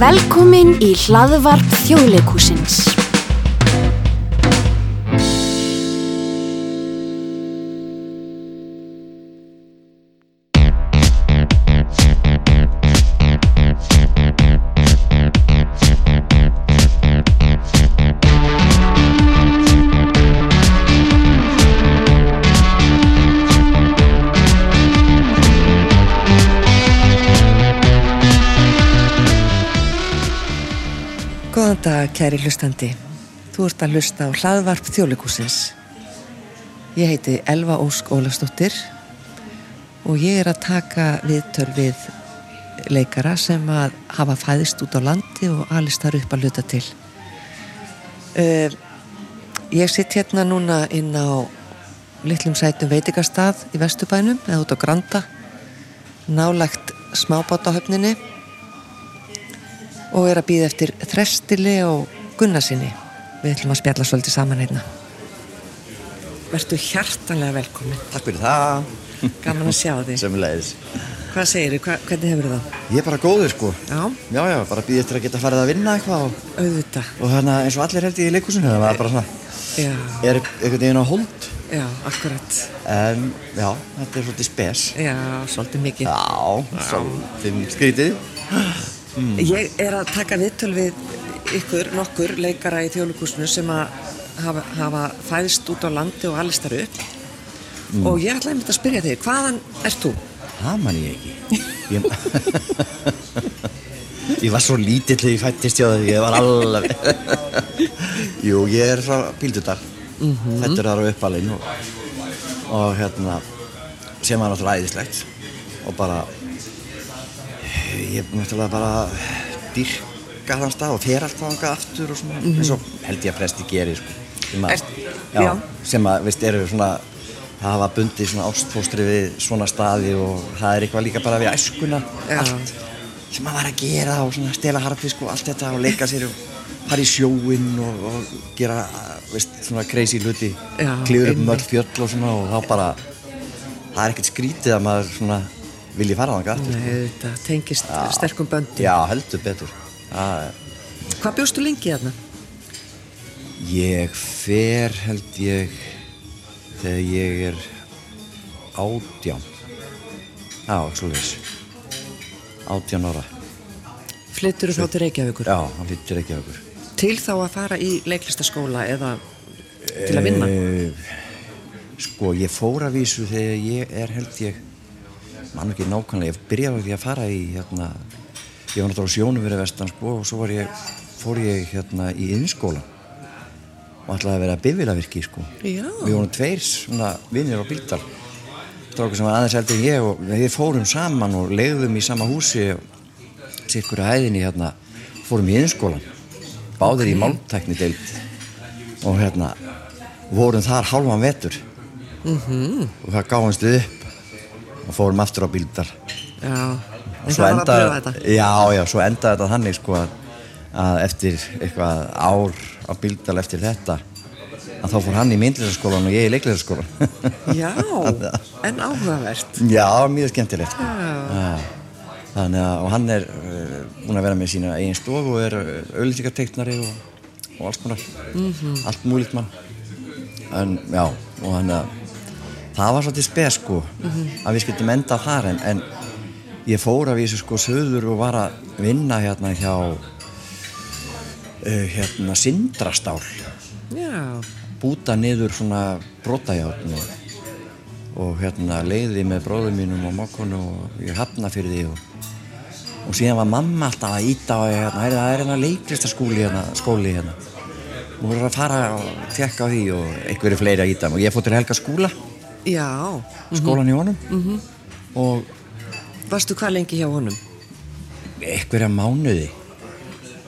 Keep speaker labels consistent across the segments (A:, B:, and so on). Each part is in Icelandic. A: Velkomin í hlaðvarp þjóðleikúsins.
B: Góðan dag, kæri hlustandi. Þú ert að hlusta á hlaðvarp þjóðleikúsins. Ég heiti Elva Ósk Ólafsdóttir og ég er að taka viðtöl við leikara sem að hafa fæðist út á landi og alist þar upp að hluta til. Uh, ég sitt hérna núna inn á litlum sætum veitingastað í Vesturbænum eða út á Granda, nálægt smábátahöfninni og er að býða eftir Þrestili og Gunnarsinni. Við ætlum að spjalla svolítið saman hérna. einna. Vertu hjartanlega velkomin.
C: Takk fyrir það
B: Gaman að sjá þig.
C: Sömmulegis
B: Hvað segir þið? Hvernig hefur það?
C: Ég er bara góður sko
B: Já,
C: Já, já, bara býð eftir að geta farið að vinna eitthvað og,
B: auðvitað.
C: og hérna eins og allir held ég í leikúsinu Það var bara svona
B: Já,
C: Er einhvern veginn á hold
B: já, akkurat.
C: um, Já, þetta er svolítið spes
B: Já, svolítið mikið.
C: Já, svolítið skrítið
B: Mm. Ég er að taka viðtöl við ykkur, nokkur leikara í þjóðlugúsinu sem að hafa, hafa fæðist út á landi og alist þar upp. Og ég ætlaði einmitt að spyrja þig, hvaðan ert þú?
C: Það man ég ekki Ég, ég var svo lítill þegar ég fættist hjá það Ég var alveg Jú, ég er frá Píldudal
B: Mhm.
C: Þetta er þar á uppalinn og, og hérna sem var náttúrulega æðislegt og bara ég er náttúrulega bara dyrka þann stað og fer alltaf þangað aftur og svona eins og held ég að presti gerir sko, sem að,
B: Mhm. Ert-
C: já,
B: já.
C: sem að veist, eru svona það hafa bundið svona ástfóstri við svona staði og það er eitthvað líka bara við æskuna
B: Já.
C: allt sem maður var að gera og svona stela harfisk og allt þetta og leika sér og fara í sjóinn og, og gera veist, svona crazy hluti
B: Já,
C: klifur upp um
B: einmitt.
C: öll fjöll og svona og þá bara það er ekkert skrítið að maður svona vilji fara þangað aftur
B: Nei, þetta tengist
C: Já.
B: sterkum böndum.
C: Já, heldur betur það, er-
B: Hvað bjóstu lengi þarna?
C: Ég fer held ég þegar ég er átján Já, slúðis átján ára
B: Flyttur þú þá til Reykjavíkur?
C: Já, hann fyrir ekki okkur
B: Til þá að fara í leiklistaskóla eða til að
C: Eh,
B: vinna?
C: Sko, ég fór að vísu þegar ég er held ég mann ekki nákvæmlega, ég byrjaði á því að fara í hérna, ég var náttúrulega á sjónum verið vestan sko og svo var ég, fór ég hérna í innskóla og ætlaði að vera bifilavirki sko
B: Já.
C: við vorum tveir svona vinnir á bíldal strákur sem var aðeins heldur en ég og við fórum saman og legðum í sama húsi sirkur að hæðinni hérna fórum í innskólan báðir í málmtækni deild og hérna vorum þar hálfan vetur -hmm. og það gáðumst við upp og fórum aftur á bíldal
B: Já.
C: Og
B: En það var að
C: endaði-
B: pröfa þetta?
C: já, já, svo endaði þetta þannig sko að, að eftir eitthvað ár á bíldal eftir þetta að þá fór hann í myndlisarskólan og ég í leiklisarskólan
B: Já, en áhugavert.
C: já, mjög skemmtilegt sko.
B: Já.
C: Já. þannig að og hann er uh, búin að vera með sína eigin stofu og er auðlýsingarteiknari og, og alls konar allt múlíkt mann en já, og þannig að það var svolítið spes sko að við skemmtum enda þar en, en ég fór að vísu sko söður og var að vinna hérna hjá uh, hérna sindrastál
B: Já.
C: búta niður svona brotajátn og, og hérna leiði með bróðum mínum og mokkonu og ég hafna fyrir því og, og síðan var mamma alltaf að íta og hérna, "Heyrðu, það er hérna leiklistaskóli hérna, skóli hérna og voru að fara og tekka á því og einhverju fleiri að íta og ég fótt til Helga skúla
B: Já.
C: skólan í honum -hmm. og
B: Varstu hvað lengi hjá honum?
C: einhverja mánuði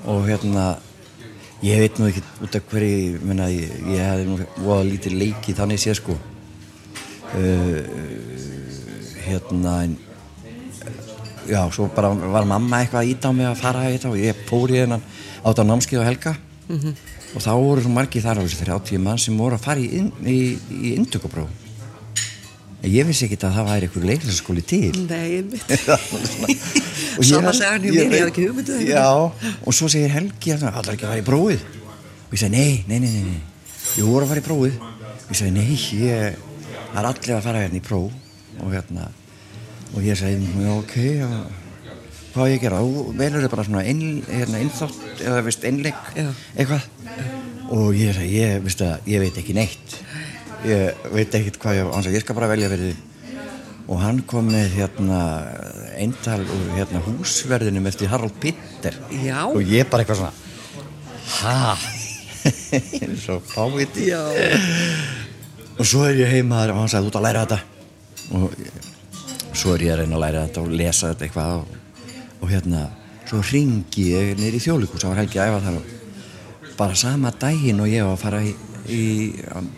C: og hérna ég veit nú ekki út af hverju ég meina, ég, ég hefði nú voða lítið leiki þannig sé sko uh, hérna en já, svo bara var mamma eitthvað að íta á mig að fara eitthvað og ég fór í þennan átt á námskið á helga og þá voru svo margið þar á þessu 30 mann sem voru að fara í, inn- í, í inntökupróf í ég vissi ekki að það væri einhver leiklæsaskóli til
B: Nei, einmitt.
C: Og ég-
B: Sama sagan hjá
C: ég
B: mér, ég hef
C: veit-
B: ekki um hugmyndið það.
C: Já, og svo segir Helgi að það er ekki að fara í prófið og ég segi nei, nei, nei, nei, nei. ég voru að fara í prófið og ég segi nei, ég það er allir að fara hérna í próf og hérna og ég segi, já, ok já. hvað á ég að gera, og velur þau bara svona inn, hérna, innþátt eða veist, innleik,
B: Já.
C: eitthvað og ég segi, ég, veist að, ég veit ekki neitt ég veit ekkit hvað ég, hann sagði, ég skal bara velja verið og hann kom með hérna eintal úr hérna húsverðinum eftir Harald Pitter
B: Já.
C: og ég bara eitthvað svona hæ svo fáviti
B: Já.
C: og svo er ég heima og hann sagði þú ert að læra þetta og ég- svo er ég að reyna að læra þetta og lesa þetta eitthvað og, og hérna svo ringi ég niður í þjóðlíkus það var helgi að æfa þar og bara sama daginn og ég var að fara í, í að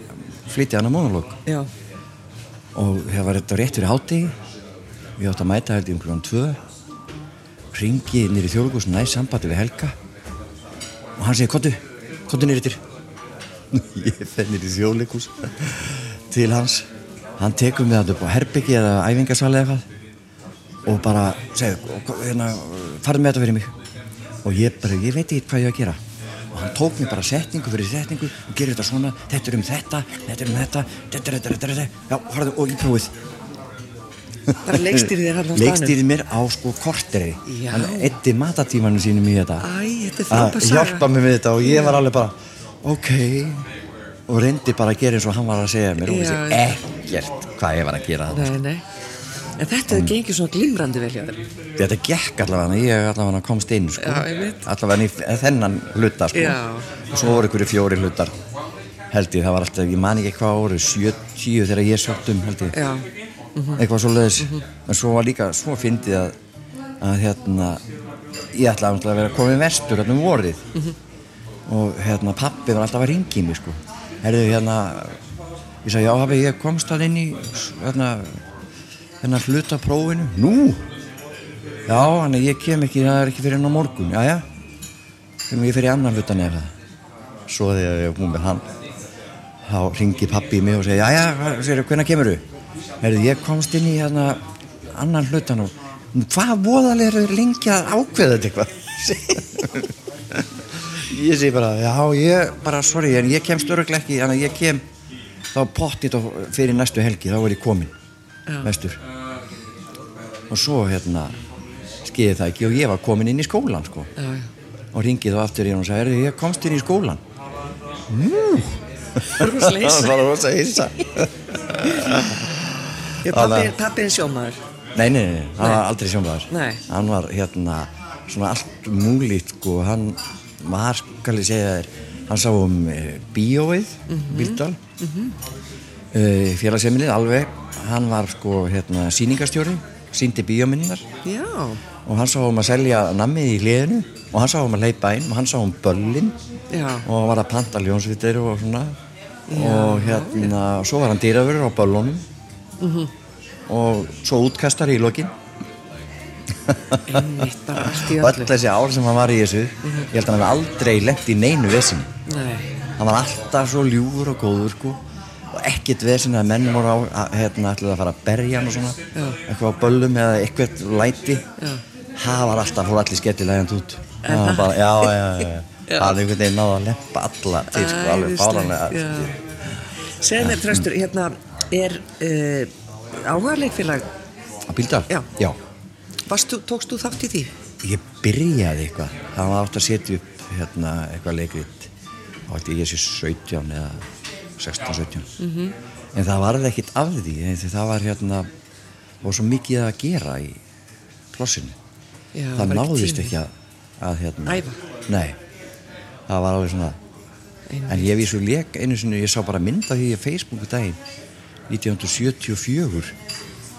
C: flytja hann að monolog
B: Já,
C: og það var þetta rétt fyrir hátegi ég átti að mæta held í um klukkan tvö ringi nýri þjóðlugus næ sambandi við Helga og hann segir kottu, kottu nýri þér ég fer nýri þjóðlugus til hans hann tekur mig þetta upp á herbyggi eða æfingasal eða eitthvað og bara segir, "Og hvað- hérna, farðu með þetta fyrir mig og ég bara, ég veit ekki hvað ég á að gera og hann tók mig bara setningu fyrir setningu og gerir þetta svona, þetta er um þetta þetta er um þetta, þetta er þetta, þetta er þetta já, horfðu, og ég prófið
B: bara leikstýrið þér hann á staðnum.
C: Leikstýrði mér á sko korteri
B: Já.
C: Hann etti matatímanum sínum í þetta
B: Æ, þetta er
C: Að
B: frábær saga.
C: Ah, Hjálpa mér við þetta og ég var alveg bara Ok Og reyndi bara að gera eins og hann var að segja mér Og
B: Já,
C: vissi
B: já.
C: ekkert hvað ég var að gera þarna sko.
B: Nei, nei. En þetta
C: Mm.
B: um, gengið svona glimrandi vel hjá þér.
C: Þetta gekk allavega, ég allavega komst inn sko.
B: Já, einmitt.
C: Allavega í þennan hluta sko.
B: Já.
C: Og svo voru ykkur fjóri hlutar Held ég, það var alltaf, ég man ekki hvað ári 70 þegar ég sótt um held ég
B: Já.
C: eitthvað svo leiðis en svo var líka svo fyndið að, að hérna ég ætlaði náttúrulega að vera komið vestur hérna um vorið og hérna pappi var alltaf að ringi mig sko herðu hérna ég sagði já hafi ég komst það inn í hérna hérna hluta prófinu nú já hann ég kem ekki það er ekki fyrir enn á morgun já já þegar ég fer í annan hlutan eða það svo þegar ég er búin með hann þá ringi pappi í mig og segja jæja, segir, hvernig kemur þú? Herðu, ég komst inn í hérna annan hlutan og "Nú, hvað voðalega eru þeir lengi að ákveða þetta eitthvað ég segi bara, já, ég bara, sorry, en ég kemst öruglega ekki þannig að ég kem þá pottit og fyrir næstu helgi, þá er ég komin
B: Já.
C: vestur og svo hérna skeiði það ekki og ég var komin inn í skólan sko
B: Já, já.
C: og ringið þá aftur í hann og sagði, "Heyrðu, ég komst inn í skólan
B: Rúsleis.
C: Það var rosa hissa
B: Ég, pappi, pappi er sjómaður.
C: Nei, nei, nei, hann var aldrei sjónbæður
B: Nei.
C: Hann var hérna svona allt múlít sko, hann var skal ég segja þér hann sá um e, bíóið Bíldal mm félagsheimilið alveg hann var sko hérna sýningastjóri síndi bíóminnar
B: Já.
C: og hann sá um að selja nammið í hliðinu og hann sá um að leipa inn og hann sá um böllin
B: Já.
C: og hann var að panta ljónsvitir og svona og hérna, og svo var hann dýravörur á böllunum
B: Mhm.
C: og svo útkastari í lokin
B: Einmitt bara allt í
C: og öll
B: öllu. Mhm.
C: þessi ár sem hann var í þessu ég held að hann hefði aldrei lent í neinu vesinu
B: Nei.
C: hann var alltaf svo ljúfur og góður sko og ekkert vesinu að menn voru á að, hérna, ætlaði að fara að berja hann og svona
B: Já.
C: eitthvað á böllum eða eitthvað læti
B: Já.
C: það var alltaf, fór allir skellilegand út það var bara, já, já, já, já.
B: Já.
C: hann einhvern veginn náði að leppa alla til sko, alveg
B: Æðislegt,
C: fálanlega
B: já. Segð mér, Tröstur, hérna er uh, áhugaðleikfélag,
C: á bíldal?
B: Já.
C: já.
B: varstu, tókst þú þátt í því?
C: Ég byrjaði eitthvað. Það var átt að setja upp hérna, eitthvað leikrit. Þá ætti ég sé 17 eða 16-17. En það varði ekkit af því. eh, því Það var hérna, það var svo mikið að gera í plossinu.
B: Já,
C: það
B: bara ekki
C: náðist
B: tími.
C: ekki að, að hérna.
B: Æfa.
C: Nei. Það var alveg svona. En ég vísu leik einu sinni, ég sá bara mynd af því í Facebooku daginn 1974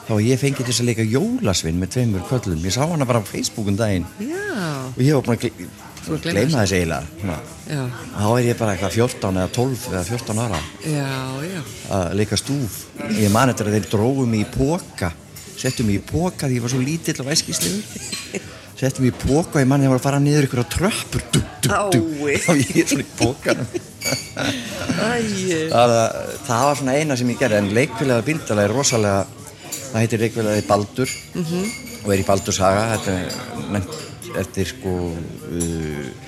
C: þá var ég fengið þess að leika jólasvinn með tveimur köllum, ég sá hana bara á Facebookum daginn
B: Já.
C: og ég var bara að
B: Þú
C: gle-
B: gleymir
C: gleyma þessi eiginlega svona.
B: Já,
C: þá er ég bara eitthvað 14 eða 12 eða 14 ára
B: já, já.
C: að leika stúf ég man þetta að þeir dróðu mig í póka settu mig í póka því ég var svo lítill og væskislegu settum við í póka í manni það var að fara niður ykkur á tröppur dú, dú, dú.
B: Ái.
C: þá ég er svona í pókanum
B: Æ,
C: það, það var svona eina sem ég gerði en leikfélagi bíldala er rosalega það heitir leikfélagi Baldur og er í Baldur saga þetta er nefnt eftir sko uh,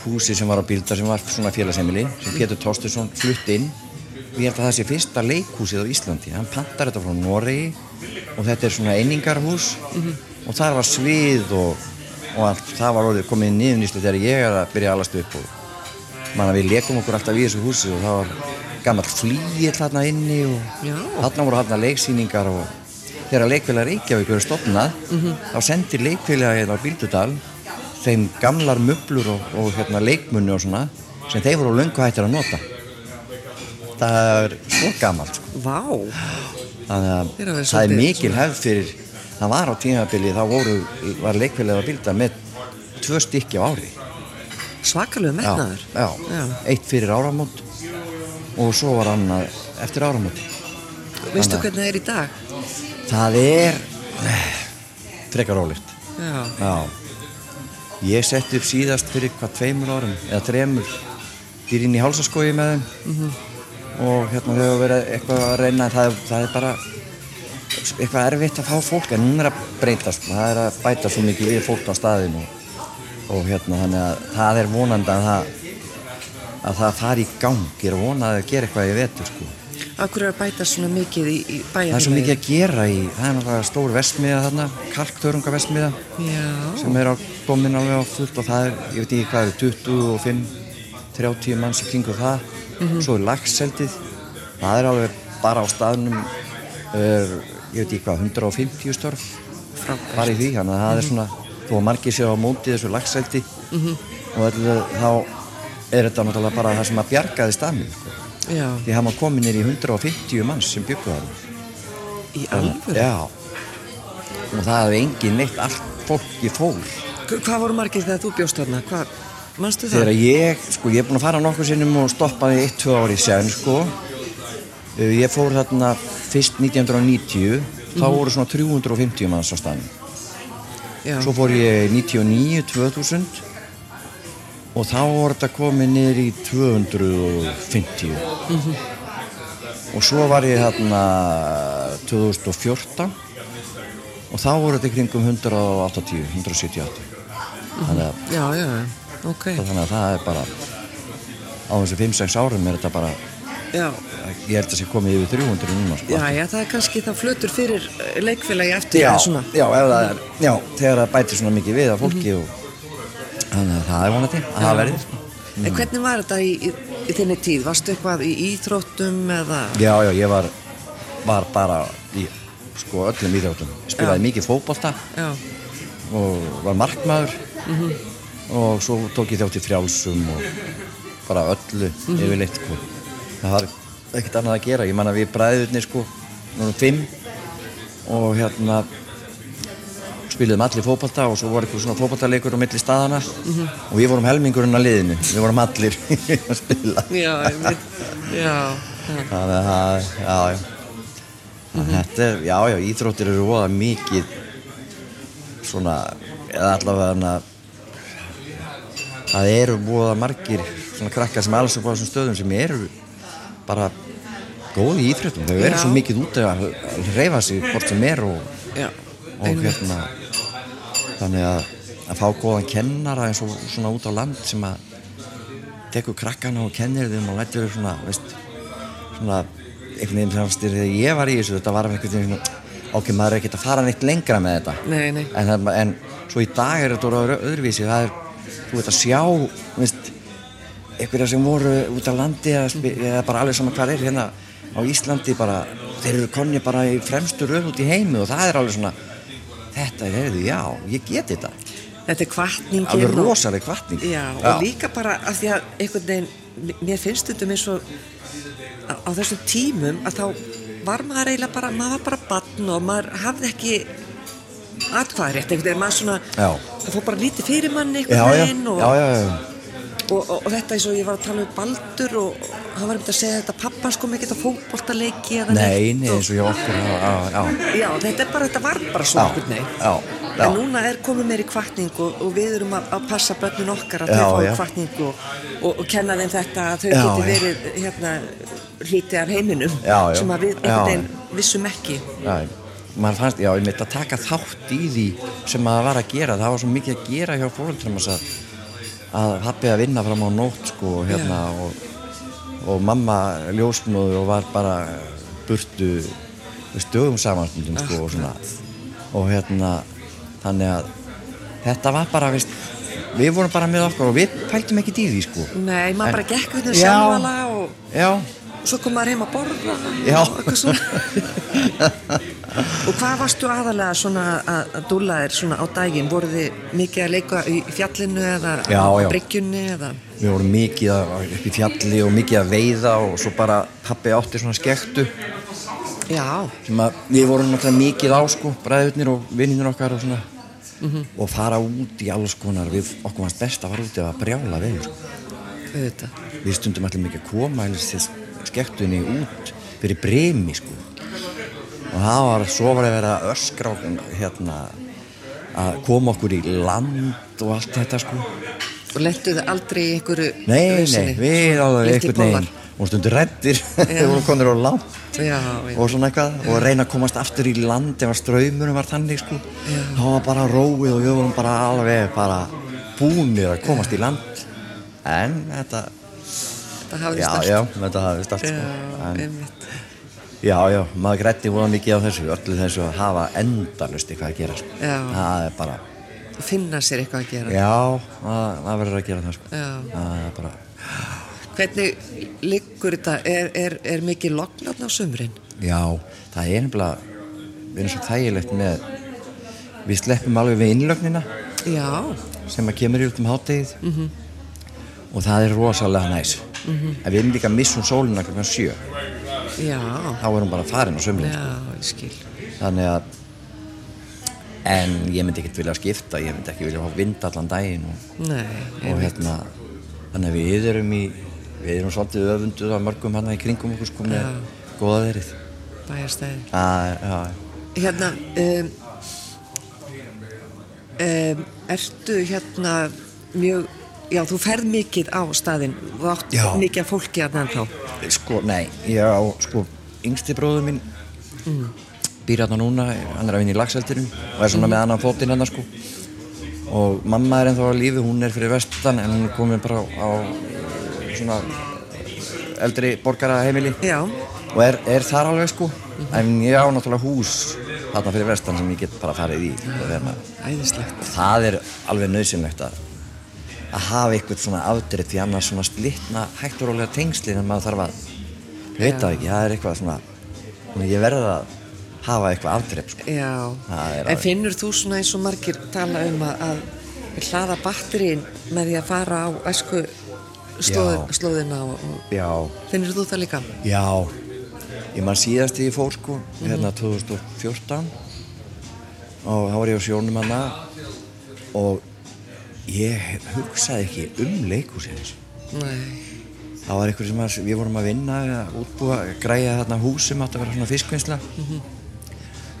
C: húsi sem var á bíldar sem var svona félagsemili sem Pétur Tóstursson flutti inn og ég held að það sé fyrsta leikhúsið á Íslandi hann pantar þetta frá Noregi og þetta er svona einingarhús og þar var svið og, og allt, það var orðið komið niður nýslu þegar ég er að byrja að alast upp og Man að við leikum okkur alltaf í þessu húsi og það var gammal flýill þarna inni og
B: Já.
C: þarna voru þarna leiksýningar og þegar leikfélag Reykjavík verið stopnað
B: Mhm.
C: þá sendir leikfélag hérna á Bíldudal þeim gamlar möblur og, og hérna leikmunni og svona sem þeir voru löngu hættir að nota það er svo gammalt sko.
B: vá,
C: þannig
B: Þeir hafa
C: að
B: verið
C: það er
B: svolítið-
C: mikil hefð fyrir það var á tímabili þá voru, var leikfélag á Bíldudal með tvö stykki á ári
B: svakalegu
C: já,
B: metnaður.
C: já,
B: Já.
C: eitt fyrir áramót og svo var annað eftir áramót
B: Veistu
C: Annað.
B: hvernig það er í dag?
C: það er eh, frekar ólíkt
B: Já,
C: já. ég setti upp síðast fyrir hvað tveimur árum eða tremur dýrin í hálsaskogi með þeim og hérna þau hafa verið eitthvað að reyna en það, það er bara eitthvað erfitt að fá fólk en hún er að breytast það er að bæta svo mikið við fólk á staðinu og, og hérna þannig að það er vonandi að það að það fari í gang, ég er að vona að þau gera eitthvað í vetur sko
B: akkur er að bæta svona mikið í, í bæjarfélagi?
C: Það er svo mikið að gera í, það er náttúrulega stór vestmiða þarna, kalkþörunga vestmiða
B: Já,
C: sem er á domin alveg á fullt og það er, ég veit ekki hvað er, 25, 30 manns í kringu það,
B: Mhm.
C: svo er lagseldið, það er alveg bara á staðnum, er, ég veit ekki hvað, 150 störf,
B: frábært. Mhm.
C: bara í því, þannig að það er svona, þó að margir séu á móti þessu lagseldi og allir, þá er þetta náttúrulega bara það sem að bjargaði staðnum, sko.
B: Já,
C: því hafa komin er í 150 manns sem byggu þarna.
B: í alvöru.
C: Já Og það hefði engin neitt allt fólki fór
B: Hva- Hvað voru margir þegar þú bjóst þarna? Hvað, manstu það?
C: Þegar ég, sko, ég er búin að fara nokkur sinnum og stoppaði eitt, tvö ári sen, sko Uh, Ég fór þarna fyrst 1990 Þá voru svona 350 manns á staðnum
B: Já,
C: Svo fór ég 99, 2000 og þá voru þetta komið niður í 250 og svo var ég þarna 2014 og þá voru þetta í kringum 180, 178 þannig að,
B: já, já, ok.
C: þannig að það er bara á þessu 5-6 árum er þetta bara
B: Já,
C: ég held að sé komið yfir 300 núna sko.
B: já, já, það er kannski þá flutur fyrir eh, leikfélagi eftir
C: já,
B: eða svona. Mhm.
C: já, ef það er, já, þegar það bætir svona mikið við að fólki og þannig að það er vonandi að það verði sko.
B: En hvernig var þetta í, í, í þinni tíð? Varstu eitthvað í íþróttum eða?
C: já, já, ég var, var bara í sko öllum íþjóttum spilaði mikið fótbolta
B: Já,
C: og var markmaður og svo tók ég þjótt í frjálsum og bara öllu yfirleitt sko. það var ekkert annað að gera ég man að við bræðurnir sko núna fimm og hérna spiliðum allir fótbolta og svo voru eitthvað svona fótboltaleikur á milli staðana og við vorum helmingurinn að liðinu við vorum allir að spila
B: já, ég veit, já, já,
C: Þannig að það, já, já. Þannig að þetta er, já, já, íþróttir eru voða mikið svona, eða allavega þannig að það eru voða margir svona krakkar sem alveg svo búið á þessum stöðum sem eru bara góði í íþróttum. Þau eru
B: Já.
C: svo mikið út að að hreyfa sig hvort sem er og,
B: já.
C: og hérna, þannig að, að fá góðan kennara eins og svona út á land sem að tekur krakkana og kennir þeim og lætur þau svona, veist, svona einhvern veginn framst þegar ég var í þessu, þetta var einhvern veginn svona, ok, maður er ekkert að fara neitt lengra með þetta
B: Nei, nei.
C: en, það, en svo í dag er þetta orðið öðruvísi, það er, þú veit að sjá, veist, einhverja sem voru út á landi eða, spi- eða bara alveg saman hvað er hérna á Íslandi bara, þeir eru konni bara í fremstu röð út í heimi og það er alveg svona, þetta er, heyrðu, já, ég get þetta,
B: Þetta er kvartningin.
C: alveg rosaleg kvartning.
B: Já, og líka bara að því að einhvern veginn, mér finnst þetta mér svo á, á þessum tímum að þá var maður eiginlega bara, maður var bara bann og maður hafði ekki atkvæðarétt, einhvern veginn, maður svona
C: Já.
B: það fór bara lítið fyrir manni
C: já,
B: einhvern
C: já,
B: veginn og,
C: já, já, já.
B: Og, og, og þetta eins og ég var að tala um Baldur og og hann var einmitt að segja þetta pappan sko mikið að fótboltaleiki eða
C: Nei, nei,
B: og,
C: eins og ég okkur, já, já, já.
B: Já, þetta er bara, þetta var bara
C: Já,
B: svona einhvern veginn
C: já, Já.
B: en núna er komið meiri kvartning og, og við erum að, að passa börnin okkar að
C: Já,
B: þau
C: já.
B: fái kvartning og, og, og kenna þeim þetta að þau
C: Já,
B: geti
C: já.
B: verið hérna hlítið af heiminum
C: Já, já.
B: sem að við
C: Já,
B: einhvern veginn vissum ekki
C: Já, maður fannst, já, ég mitt að taka þátt í því sem maður var að gera, það var svo mikið að gera hjá fóröldrum að, að happið að vinna fram á nótt sko, og hérna, og, og mamma ljósmóður og var bara burtu stöðum samanstundum sko, og svona og hérna, þannig að þetta var bara, veist, við vorum bara með okkar og við pæltum ekki í því sko.
B: Nei, maður bara gekk við þeim
C: Já.
B: samvala og
C: Já,
B: svo kom maður heim að borða
C: Já.
B: og eitthvað svona Og hvað varstu aðalega svona að, að dúla þér svona á daginn? Voruð þið mikið að leika í í fjallinu eða
C: Já,
B: á
C: já.
B: bryggjunni eða?
C: Við vorum mikið að- upp í fjalli og mikið að veiða og svo bara pappi átti svona skektu
B: Já,
C: sem að við vorum náttúrulega mikið á sko, bræðurnir og vinninir okkar og svona og fara út í alls konar við, okkur varst best að fara út eða að brjála við sko.
B: auðvitað
C: við stundum allir mikið að koma eins til skektunni út fyrir bremi sko og það var, svo var að vera að öskra og hérna að koma okkur í land og allt þetta sko
B: Og lentuðu aldrei í einhverju
C: Nei, nei,
B: veseni?
C: við alveg
B: Litlir
C: einhvern veginn
B: bollar.
C: og stundum rættir þegar vorum konur á langt
B: Já, já,
C: og svona eitthvað og reyna að komast aftur í land ef að ströymurum var þannig sko þá var bara róið og við vorum bara alveg bara búnir að komast í land en þetta
B: það hafði
C: já,
B: stælt
C: já, þetta hafði stalt
B: Já,
C: sko en,
B: einmitt
C: já, já, maður grætti voða mikið á þessu öllu þessu að hafa endalust eitthvað að gera sko.
B: Já.
C: það er bara,
B: Finna sér eitthvað að gera
C: já, það það verður að gera það sko
B: Já.
C: það er bara
B: Hvernig liggur þetta? Er, er, er mikið loknarn á sumrin?
C: Já, það er nefnilega við erum svo þægilegt með við sleppum alveg við innlögnina
B: Já,
C: sem að kemur í út um hátegið
B: Mhm.
C: -hmm. og það er rosalega næs en við erum líka að missum sólina klokkan sjö
B: já,
C: þá erum bara farin á sömlinn
B: já, ég skil
C: þannig að en ég myndi ekkert vilja skipta ég myndi ekki vilja hafa vind allan daginn og,
B: Nei,
C: og
B: einmitt.
C: hérna þannig að við erum í við erum svolítið öfunduð af mörgum hann í kringum okkur sko með
B: Já.
C: góða verið
B: bæjarstæði
C: það, er- já,
B: Hérna um, um, Ertu hérna mjög Já, þú ferð mikið á staðinn og átt
C: Já.
B: mikið af fólki að ennþá
C: Sko, nei, ég á, sko, yngsti bróður minn býr hérna núna, hann er að vinna í lagseldirum og er svona með annan fótinn hérna, sko. Og mamma er ennþá á lífi, hún er fyrir vestan en hún er komin bara á, á svona eldri borgara heimili
B: Já,
C: og er, er þar alveg, sko. En ég á náttúrulega hús þarna fyrir vestan sem ég get bara farið í. Mm.
B: æðislegt
C: Það er alveg nöðsynlegt að að hafa eitthvað svona afdrið því annars svona slitna hægt og rólega tengsli en maður þarf að ég veit það ekki, það er eitthvað svona svona ég verða að hafa eitthvað afdrið sko.
B: Já,
C: Það er
B: en
C: alveg-
B: finnur þú svona eins og margir tala um að, að hlaða batterín með því að fara á æsku slóð,
C: Já.
B: slóðina og, og
C: Já,
B: finnur þú það líka?
C: já Ég man síðast þegar ég fór sko hérna 2014 og þá var ég á sjónum hana og ég hugsaði ekki um leikúsins
B: Nei,
C: Það var einhverjum sem að, við vorum að vinna að útbúa, græja þarna hús sem átt að vera svona fiskvinnsla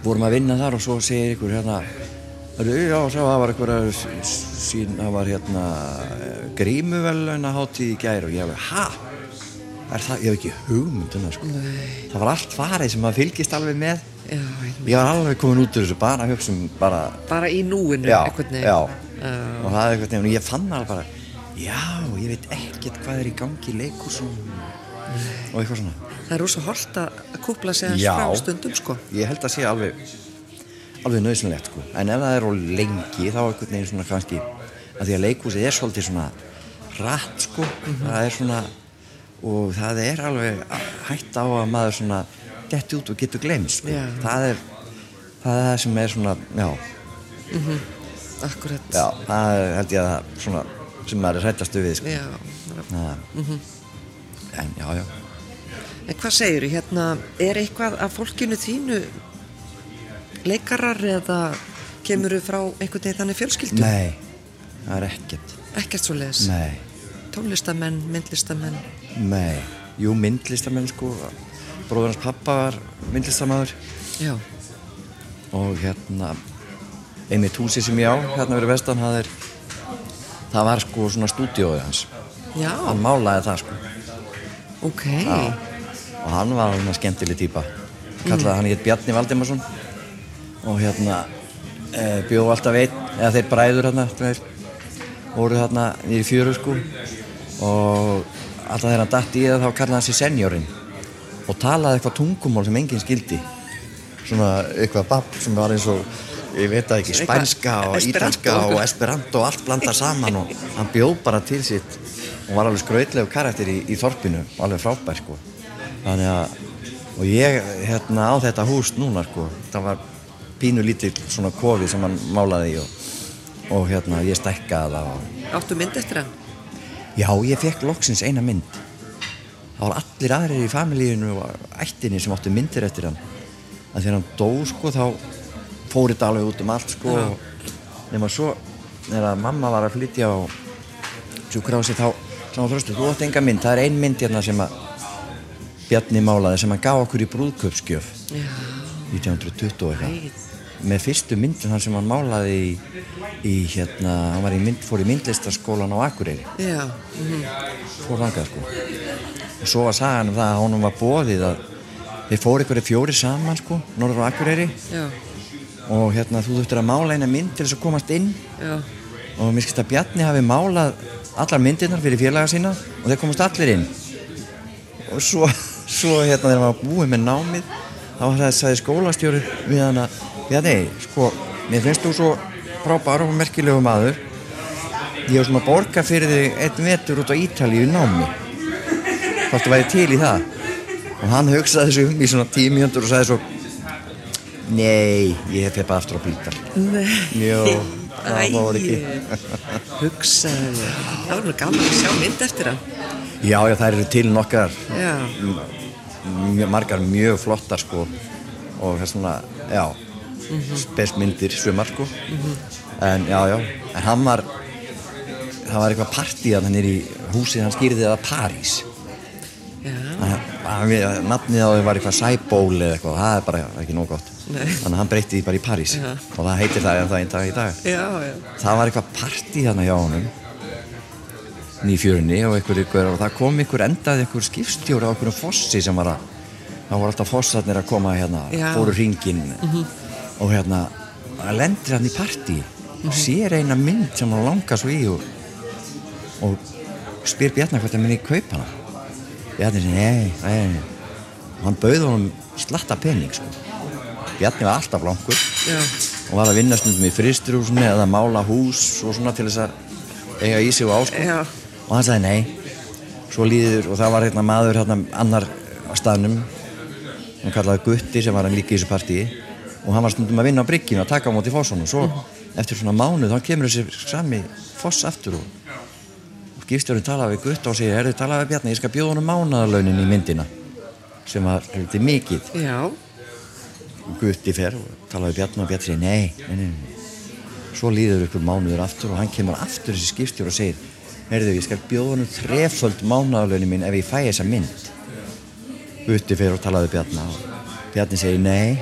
C: vorum að vinna þar og svo segir einhver hérna "Heyrðu, Já, svo það var einhver eh, sín, það var hérna grímuveluna hátíð í gær og ég hefði, ha? Er það, ég hef ekki hugmynduna sko
B: Nei.
C: Það var allt farið sem maður fylgist alveg með
B: já, einmitt.
C: Ég var alveg komin út úr þessu bara að hugsa um bara
B: bara í núinu
C: já,
B: einhvern veginn
C: já.
B: Já.
C: og það er einhvern veginn og ég fann alveg bara já, ég veit ekkert hvað er í gangi í leikúsunum og eitthvað svona
B: Það er rosa holdt að að kúpla sig að
C: Já.
B: frá stundum sko.
C: ég held að sé alveg alveg nöðsynlegt sko en ef það er á lengi þá er einhvern veginn svona kannski að því að leikúsið er svolítið svona rætt sko
B: Mhm.
C: það er svona og það er alveg hætt á að maður svona gett út og getur glemt sko
B: Já.
C: það er það er það sem er svona já,
B: Akkurat.
C: já, það er held ég að það svona sem maður er hrættastu við sko
B: Já.
C: Já. En já, já.
B: En hvað segir þú hérna? Er eitthvað að fólkinu þínu leikarar eða kemur þú frá einhvern veginn þannig fjölskyldu?
C: Nei, það er ekkert.
B: Ekkert svo leiðis.
C: Nei,
B: Tónlistamenn, myndlistamenn.
C: nei. Jú, myndlistamenn sko. Bróður hans pappa var myndlistamæður
B: Já.
C: og hérna einmitt húsi sem ég á, hérna verið vestan, það er, það var sko svona stúdíóið hans.
B: Já,
C: Hann málaði það sko.
B: ok.
C: Já. Og hann var svona skemmtileg týpa. Kallaði
B: Mm.
C: hann hétt Bjarni Valdimarsson og hérna e, bjóð alltaf einn, eða þeir bræður hérna, þeir voru hérna í fjöru sko og alltaf þegar hann datt í það þá kallaði hann sig senjórinn og talaði eitthvað tungumál sem enginn skildi svona eitthvað babb sem var eins og ég veit það ekki,
B: Eitthvað
C: spænska og
B: esperanto.
C: ítalska og esperanto og allt blandað saman og hann bjóð bara til sitt og var alveg skrautlegu karakter í, í þorpinu og alveg frábær sko þannig að og ég hérna á þetta hús núna sko það var pínu lítill svona kofi sem hann málaði í og, og hérna ég stækkaði það og
B: Áttu mynd eftir hann?
C: Já, ég fekk loksins eina mynd. Það var allir aðrir í familíinu og ættinni sem áttu myndir eftir hann. En þegar hann dó, sko, þá fór þetta alveg út um allt, sko. Nefnum að svo, þegar mamma var að flytja á sjúkrási, þá sá hann þröstu, þú átt enga mynd, það er ein mynd hérna sem að Bjarni málaði, sem hann gaf okkur í brúðköpsgjöf
B: Já.
C: 1920 og eitthvað
B: Æ.
C: með fyrstu myndin hann sem hann málaði í, í hérna, hann var í mynd, fór í myndlistaskólan á Akureyri
B: Já.
C: fór þangað sko og svo var sagan um það að honum var bóðið að þeir fóru ykkur fjóri saman sko norður á Akureyri
B: Já.
C: og hérna þú þurftir að mála eina mynd til þess að komast inn
B: Já.
C: og mér skilst að Bjarni hafi málað allar myndirnar fyrir félaga sína og þeir komast allir inn og svo, svo hérna þegar hann var búið með námið þá var það sagði skólastjóri við hann að Bjarni, sko, mér finnst þú svo frábær og merkilegu maður ég var svona að borga fyrir þig einn vetur út á Ítalíu í námi hvort þú væri til í það og hann hugsaði þessu um í svona tímjöndur og sagði svo Nei, ég hef bara aftur á blítar
B: Nei.
C: Jó,
B: Æi.
C: það var ekki
B: Hugsaðu þér. Það var nú gaman að sjá mynd eftir hann.
C: Já, já, þær eru til nokkar
B: Já.
C: mjög, margar mjög flottar sko og það er svona, já mm
B: Mhm.
C: spesmyndir sumar sko en já, já, en hann var það var eitthvað partí að hann er í húsið, hann skýrði það París
B: Já.
C: Hann- hann- við- nafnið á þau var eitthvað Sæból eða eitthvað, það er bara ekki nóg gott
B: Nei.
C: þannig að hann breytti því bara í París
B: Já.
C: og það heitir það en það einn dag í dag
B: Já, já.
C: það var eitthvað partí þarna hjá honum ný fjörunni og einhver ykkur og það kom ykkur endaði ykkur skipstjóri á einhverjum fossi sem var að það voru alltaf fossarnir að koma hérna
B: Já.
C: fóru ringin og hérna að lendir hann í partí og sér eina mynd sem hann langar svo í og, og spyr Bjarnar hvort það minni kaupa hana Bjarni sem nei, nei, nei og hann bauð honum slatta pening sko. Bjarni var alltaf langur
B: Já.
C: og var að vinna stundum í fristurhúsinu eða mála hús og svona til þess að eiga í sig og ásko
B: Já.
C: og hann sagði nei svo líður og það var hérna maður hérna annar á staðnum hann kallaði Gutti sem var hann líka í þessu partíi og hann var stundum að vinna á bryggjunu að taka á móti fóssunum svo eftir svona mánuð þá kemur þessi sami foss aftur og skipstjórinn talaði við Gutt og segir, herru, talaði við Bjarni, ég skal bjóða honum mánaðarlaunin í myndina sem var heldur mikið
B: Já.
C: Gutti fer og talaði við Bjarni og Bjarni segir nei, nei, nei, nei. Svo líður ykkur mánuður aftur og hann kemur aftur þessi skipstjóri og segir Herðu, ég skal bjóða honum þreföld mánaðalögnin minn ef ég fæ þessa mynd. Gutti fer og talaði við Bjarni og Bjarni segir nei.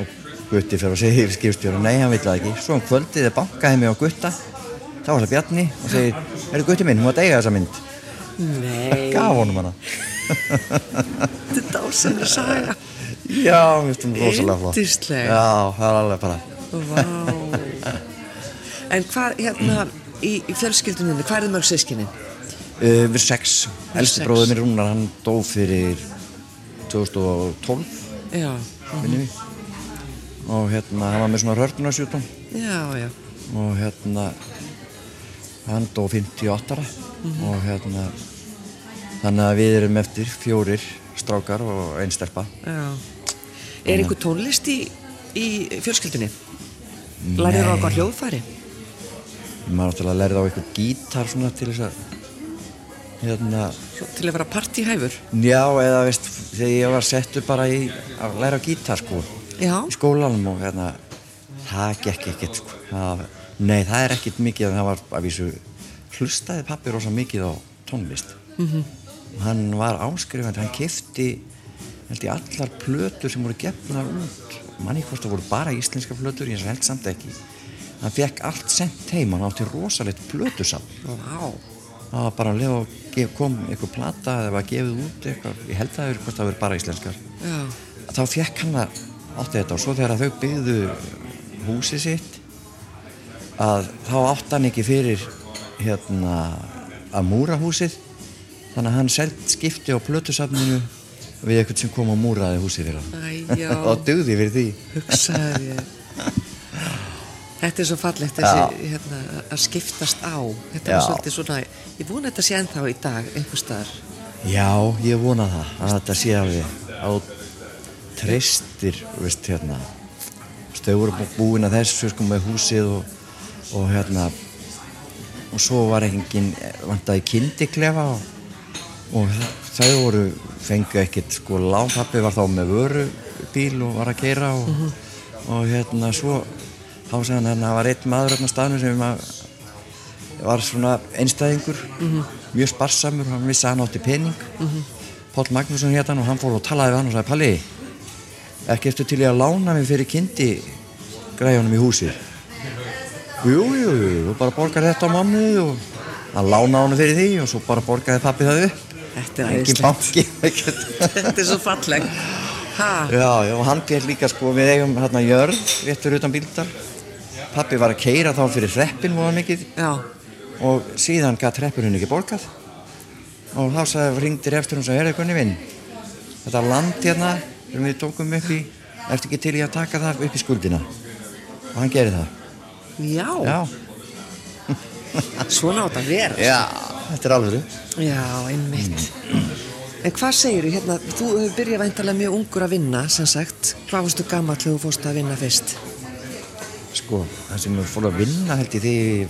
C: Og Gutti fer og segir skipstjóri nei, hann vill það ekki. Svo um kvöldið er bankaði mig á Gutta. Þá var það Bjarni og segir, herru Gutti minn, hún var að eiga þessa mynd.
B: Nei.
C: Gaf honum hana.
B: Þetta er dásamlega saga.
C: Já, mér stum rosalega flott.
B: Yndisleg.
C: Já, það er alveg bara...
B: Vá. En hvað, hérna, í, í fjölskyldunum, hvað er mörg sískinni?
C: Uh, við sex, elsti
B: sex.
C: bróður mér Rúnar, hann dó fyrir 2012
B: Já.
C: minnum við og hérna, hann var með svona rörnunarsjútum
B: Já, já.
C: og hérna hann dó 58 og hérna þannig að við erum eftir fjórir strákar og ein stelpa
B: Já. Er einhver tónlist í, í fjölskyldunni? Lærið þú okkar hljóðfæri?
C: maður náttúrulega lærið á eitthvað gítar svona til þess að hérna
B: Til að vera partíhæfur?
C: já, eða veist, þegar ég var settur bara í að læra á gítar sko
B: Já.
C: í skólanum og hérna það gekk ekkert sko það, nei það er ekkert mikið en það var að vísu hlustaði pappi rosa mikið á tónlist og hann var áskrifandi hann kefti held ég allar plötur sem voru gefnar út manni hvort það voru bara íslenska plötur ég held samt ekki hann fekk allt sent heim, hann átti rosalegt plötusafn
B: Vá.
C: það var bara að lefa og gef, kom einhver plata eða var gefið út eitthvað, ég held að það verið hvort það verið bara íslenskar
B: Já.
C: þá fekk hann að átti þetta og svo þegar þau byggðu húsið sitt að þá átti hann ekki fyrir hérna að múra húsið þannig að hann seld skipti á plötusafninu við eitthvað sem kom að múraði húsið fyrir hann
B: Æjá.
C: og dugði fyrir því
B: hugsaði ég Þetta er svo fallegt þessi hérna, að skiptast á Þetta var
C: Já.
B: svolítið svona Ég vona að þetta sé ennþá í dag einhver staðar
C: Já, ég vona það að þetta sé alveg á treystir, veist, hérna stöður búin að þessu sko með húsið og, og hérna og svo var engin vantaði kindiklefa og, og þau voru fengu ekkert sko lámpappi var þá með vörubíl og var að keira og, og hérna svo þá sagði hann að það var einn maður hérna á staðnum sem að var svona einstæðingur mjög sparsamur, hann vissi að hann átti pening Páll Magnússon hétt hann og hann fór og talaði við hann og sagði Palli ekki eftir til ég að lána mig fyrir kynnti græjunum í húsið Jú, jú, jú, þú bara borgar þetta á mammu og hann lánaði hann fyrir því og svo bara borgaði pappi það upp
B: Þetta er
C: engin
B: æðislegt
C: banki ekkert.
B: Þetta er svo fallegt ha,
C: Já, já, og hann gerð líka sko, við eigum hérna jörð, réttur utan bíldar. Pappi var að keira þá fyrir hreppin voða mikið
B: Já,
C: og síðan gætt hreppurinn ekki borgað. Og þá sagði, ringdir eftir hún og sagði, herðu kunni minn, þetta land hérna sem við tókum upp í, ertu ekki til í að taka það upp í skuldina? Og hann gerir það.
B: já,
C: Já,
B: svona átt að vera
C: já, þetta er alveg.
B: Já, einmitt
C: Mm.
B: En hvað segirðu hérna, þú hefur byrjað væntalega mjög ungur að vinna, sem sagt Hvað varstu gammal þegar þú fórst að vinna fyrst?
C: sko, það sem ég fór að vinna held ég þegar ég-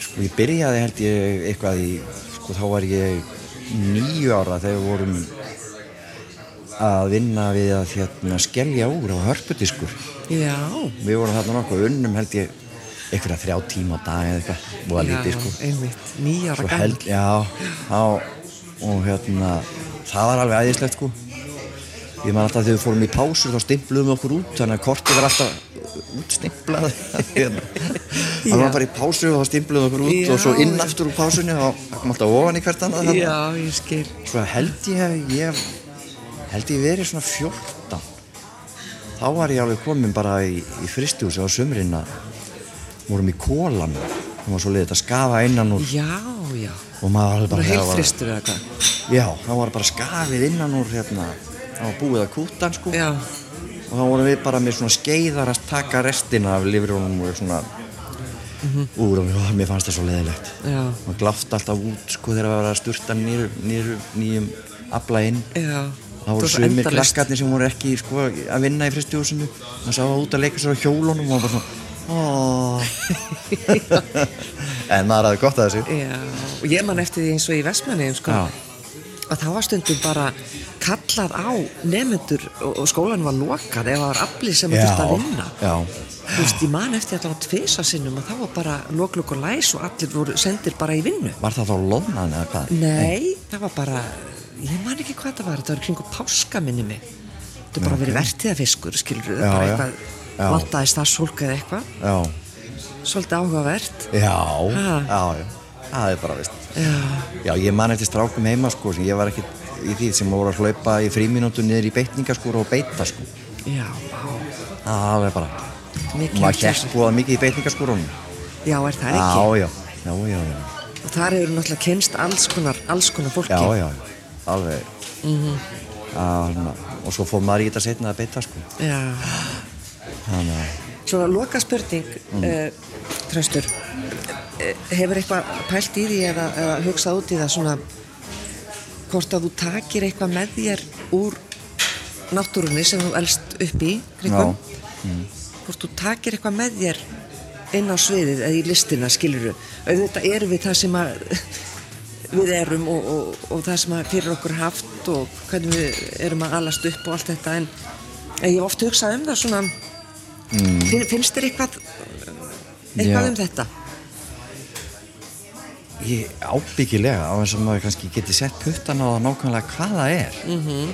C: sko, ég byrjaði held ég eitthvað í sko, þá var ég nýju ára þegar við vorum að vinna við að hérna, skellja úr á hörpudiskur
B: Já,
C: við vorum þarna nokkuð unnum held ég einhverja þrjá tíma á dag eða eitthvað og
B: já,
C: að lítið sko
B: einmitt, nýja ára
C: Svo
B: gammal
C: held, já, á, og hérna, það var alveg æðislegt sko. Ég man alltaf þegar við fórum í pásu þá stimpluðum við okkur út, þannig að kortið var alltaf útstimplað. hérna. Það
B: Já.
C: var bara í pásu og þá stimpluðum við okkur út
B: Já,
C: og svo inn
B: já.
C: aftur úr pásunni og það kom alltaf ofan í hvert annað. þarna.
B: Já, ég skil
C: Svo held ég hef, ég held ég verið svona 14 Þá var ég alveg komin bara í, í fristjúsi á sumrin að vorum í kólan það var svo leiðið að skafa innan úr
B: Já, já,
C: og maður var alveg
B: bara
C: bara
B: heilfristur eða hvað
C: Já, það var bara skafið innan úr hérna það var búið að kúta hann sko
B: Já,
C: og þá vorum við bara með svona skeiðar að taka restina af lifrjónum og svona úr og ó, mér fannst það svo leiðilegt
B: já,
C: maður gláft alltaf út sko þegar það var að sturta nýr, nýr, nýjum abla inn
B: já
C: Það voru
B: var svo
C: sumir
B: endalaust.
C: krakkarnir sem voru ekki sko, að vinna í fristjóðsunu Það sá það út að leika sér á hjólunum og bara svona "Aah." En maður hafði gott að þessu
B: Já, og ég man eftir því eins og í Vestmanniðum sko
C: Já.
B: að það var stundum bara kallað á nefnendur og, og skólan var lokað ef það var afli sem að þurfti að vinna
C: já,
B: Þú veist, ég man eftir allavega tvisa sinnum að það var bara loklug og læs og allir voru sendir bara í vinnu
C: var það þá loðnan eða hvað?
B: Nei, það var bara, ég man ekki hvað það var, þetta var kringu páska minni mig. Þetta er bara verið vertiðafiskur, skilur við,
C: Já,
B: bara
C: já.
B: eitthvað,
C: Já.
B: vantaði starfsfólk eða eitthvað,
C: Já,
B: svolítið áhugavert.
C: já,
B: Ha.
C: já, já, það er bara veist
B: Já,
C: Já, ég man eftir strákum heima sko sem ég var ekki í því sem voru að hlaupa í fríminútu niður í beitningaskúr og beita sko
B: já, vá,
C: Það var bara,
B: mikið.
C: maður hérst búið mikið í beitningaskúrunum
B: Já, er það ekki?
C: Já, já, já, já, já
B: Og þar hefur náttúrulega kennst alls konar, alls konar fólki.
C: Já, já, alveg mm Og svo fór maður í þetta setna að beita sko
B: Já.
C: Þannig að
B: Svona loka spurning, mm. Tröstur, Eh, hefur eitthvað pælt í því eða, eða hugsað út í það svona hvort að þú takir eitthvað með þér úr náttúrunni sem þú elst upp í, Krikkum, hvort þú takir eitthvað með þér inn á sviðið eða í listina, skiluru, auðvitað erum við það sem að við erum og, og, og það sem að fyrir okkur er haft og hvernig við erum að alast upp og allt þetta en en ég hef oft hugsað um það svona Finn, finnst þér eitthvað eitthvað
C: Já.
B: um þetta?
C: Ég ábyggilega á þess að maður kannski geti sett puttan á það nákvæmlega hvað það er -hmm.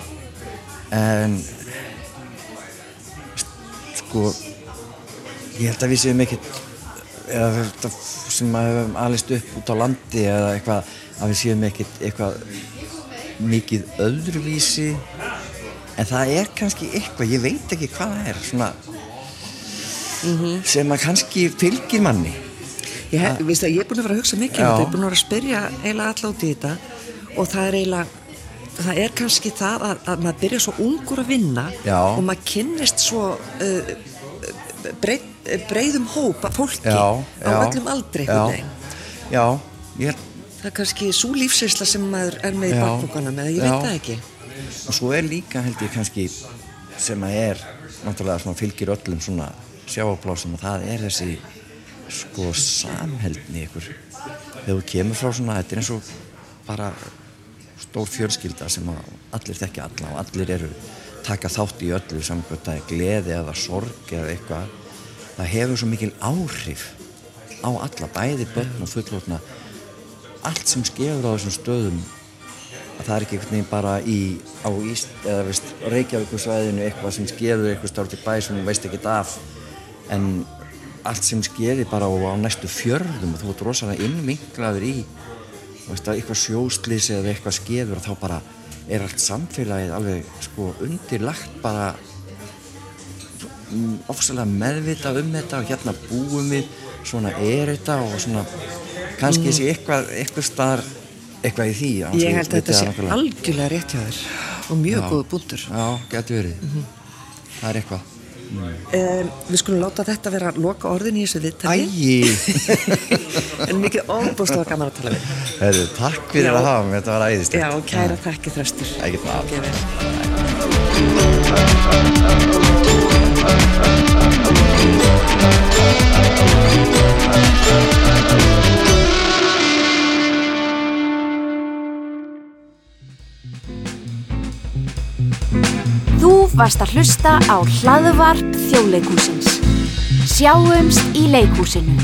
C: en sko ég held að við séum ekkert eða þetta sem maður hefum alist upp út á landi eða eitthvað að við séum ekkert eitthvað mikið öðruvísi en það er kannski eitthvað ég veit ekki hvað það er svona sem að kannski fylgir manni
B: Ég, hef, veistu, að ég er búin að vera að hugsa mikið um
C: Já.
B: þetta, ég er búin að vera að spyrja eiginlega alla út í þetta og það er eiginlega, það er kannski það að, að maður byrja svo ungur að vinna
C: Já.
B: og maður kynnist svo uh, breið, breiðum hóp af fólki á öllum aldri
C: já,
B: einhvern veginn.
C: já, ég held
B: Það er kannski svo lífsinsla sem maður er með í
C: Já.
B: bakbókanum eða ég
C: Já.
B: veit það ekki.
C: og svo er líka held ég kannski sem að er náttúrulega svona fylgir öllum svona sjáablásum og það er þessi sko samheldni ykkur þegar þú kemur frá svona þetta er eins og bara stór fjölskylda sem að allir þekki alla og allir eru taka þátt í öllu samkvæmt að gleði eða sorg eða eitthvað það hefur svo mikil áhrif á alla, bæði börn og fullorna allt sem skefur á þessum stöðum að það er ekki einhvern veginn bara í á Íst, eða veist, Reykjavíkusvæðinu eitthvað sem skerur eitthvað stárt í bæ sem þú veist ekki af en allt sem skerir bara á, á næstu fjörðum og þú ert rosalega innvinklaður í þú veist að eitthvað sjóslýsi eða eitthvað skerur og þá bara er allt samfélagið alveg sko undirlagt bara mm, ofsalega meðvita um þetta og hérna búum við svona er þetta og svona kannski sé eitthvað, eitthvað staðar eitthvað í því án þess
B: Mm. Ég held að
C: viti
B: þetta
C: það
B: sé
C: nákvæmlega.
B: algjörlega rétt hjá þér og mjög góðu búndur.
C: Já, getur verið. Það er eitthvað.
B: Um, við skulum láta þetta vera að loka orðin í þessu viðtæki.
C: Æi!
B: en mikið óbúslega gaman að tala við þig.
C: Herðu, takk fyrir
B: Já.
C: að hafa mig, þetta var æðislegt.
B: Já, og kæra þakki þröstur
C: Ekkert mál.
B: Ekki vel.
A: Þú varst að hlusta á hlaðvarp þjóðleikúsins. Sjáumst í leikúsinu.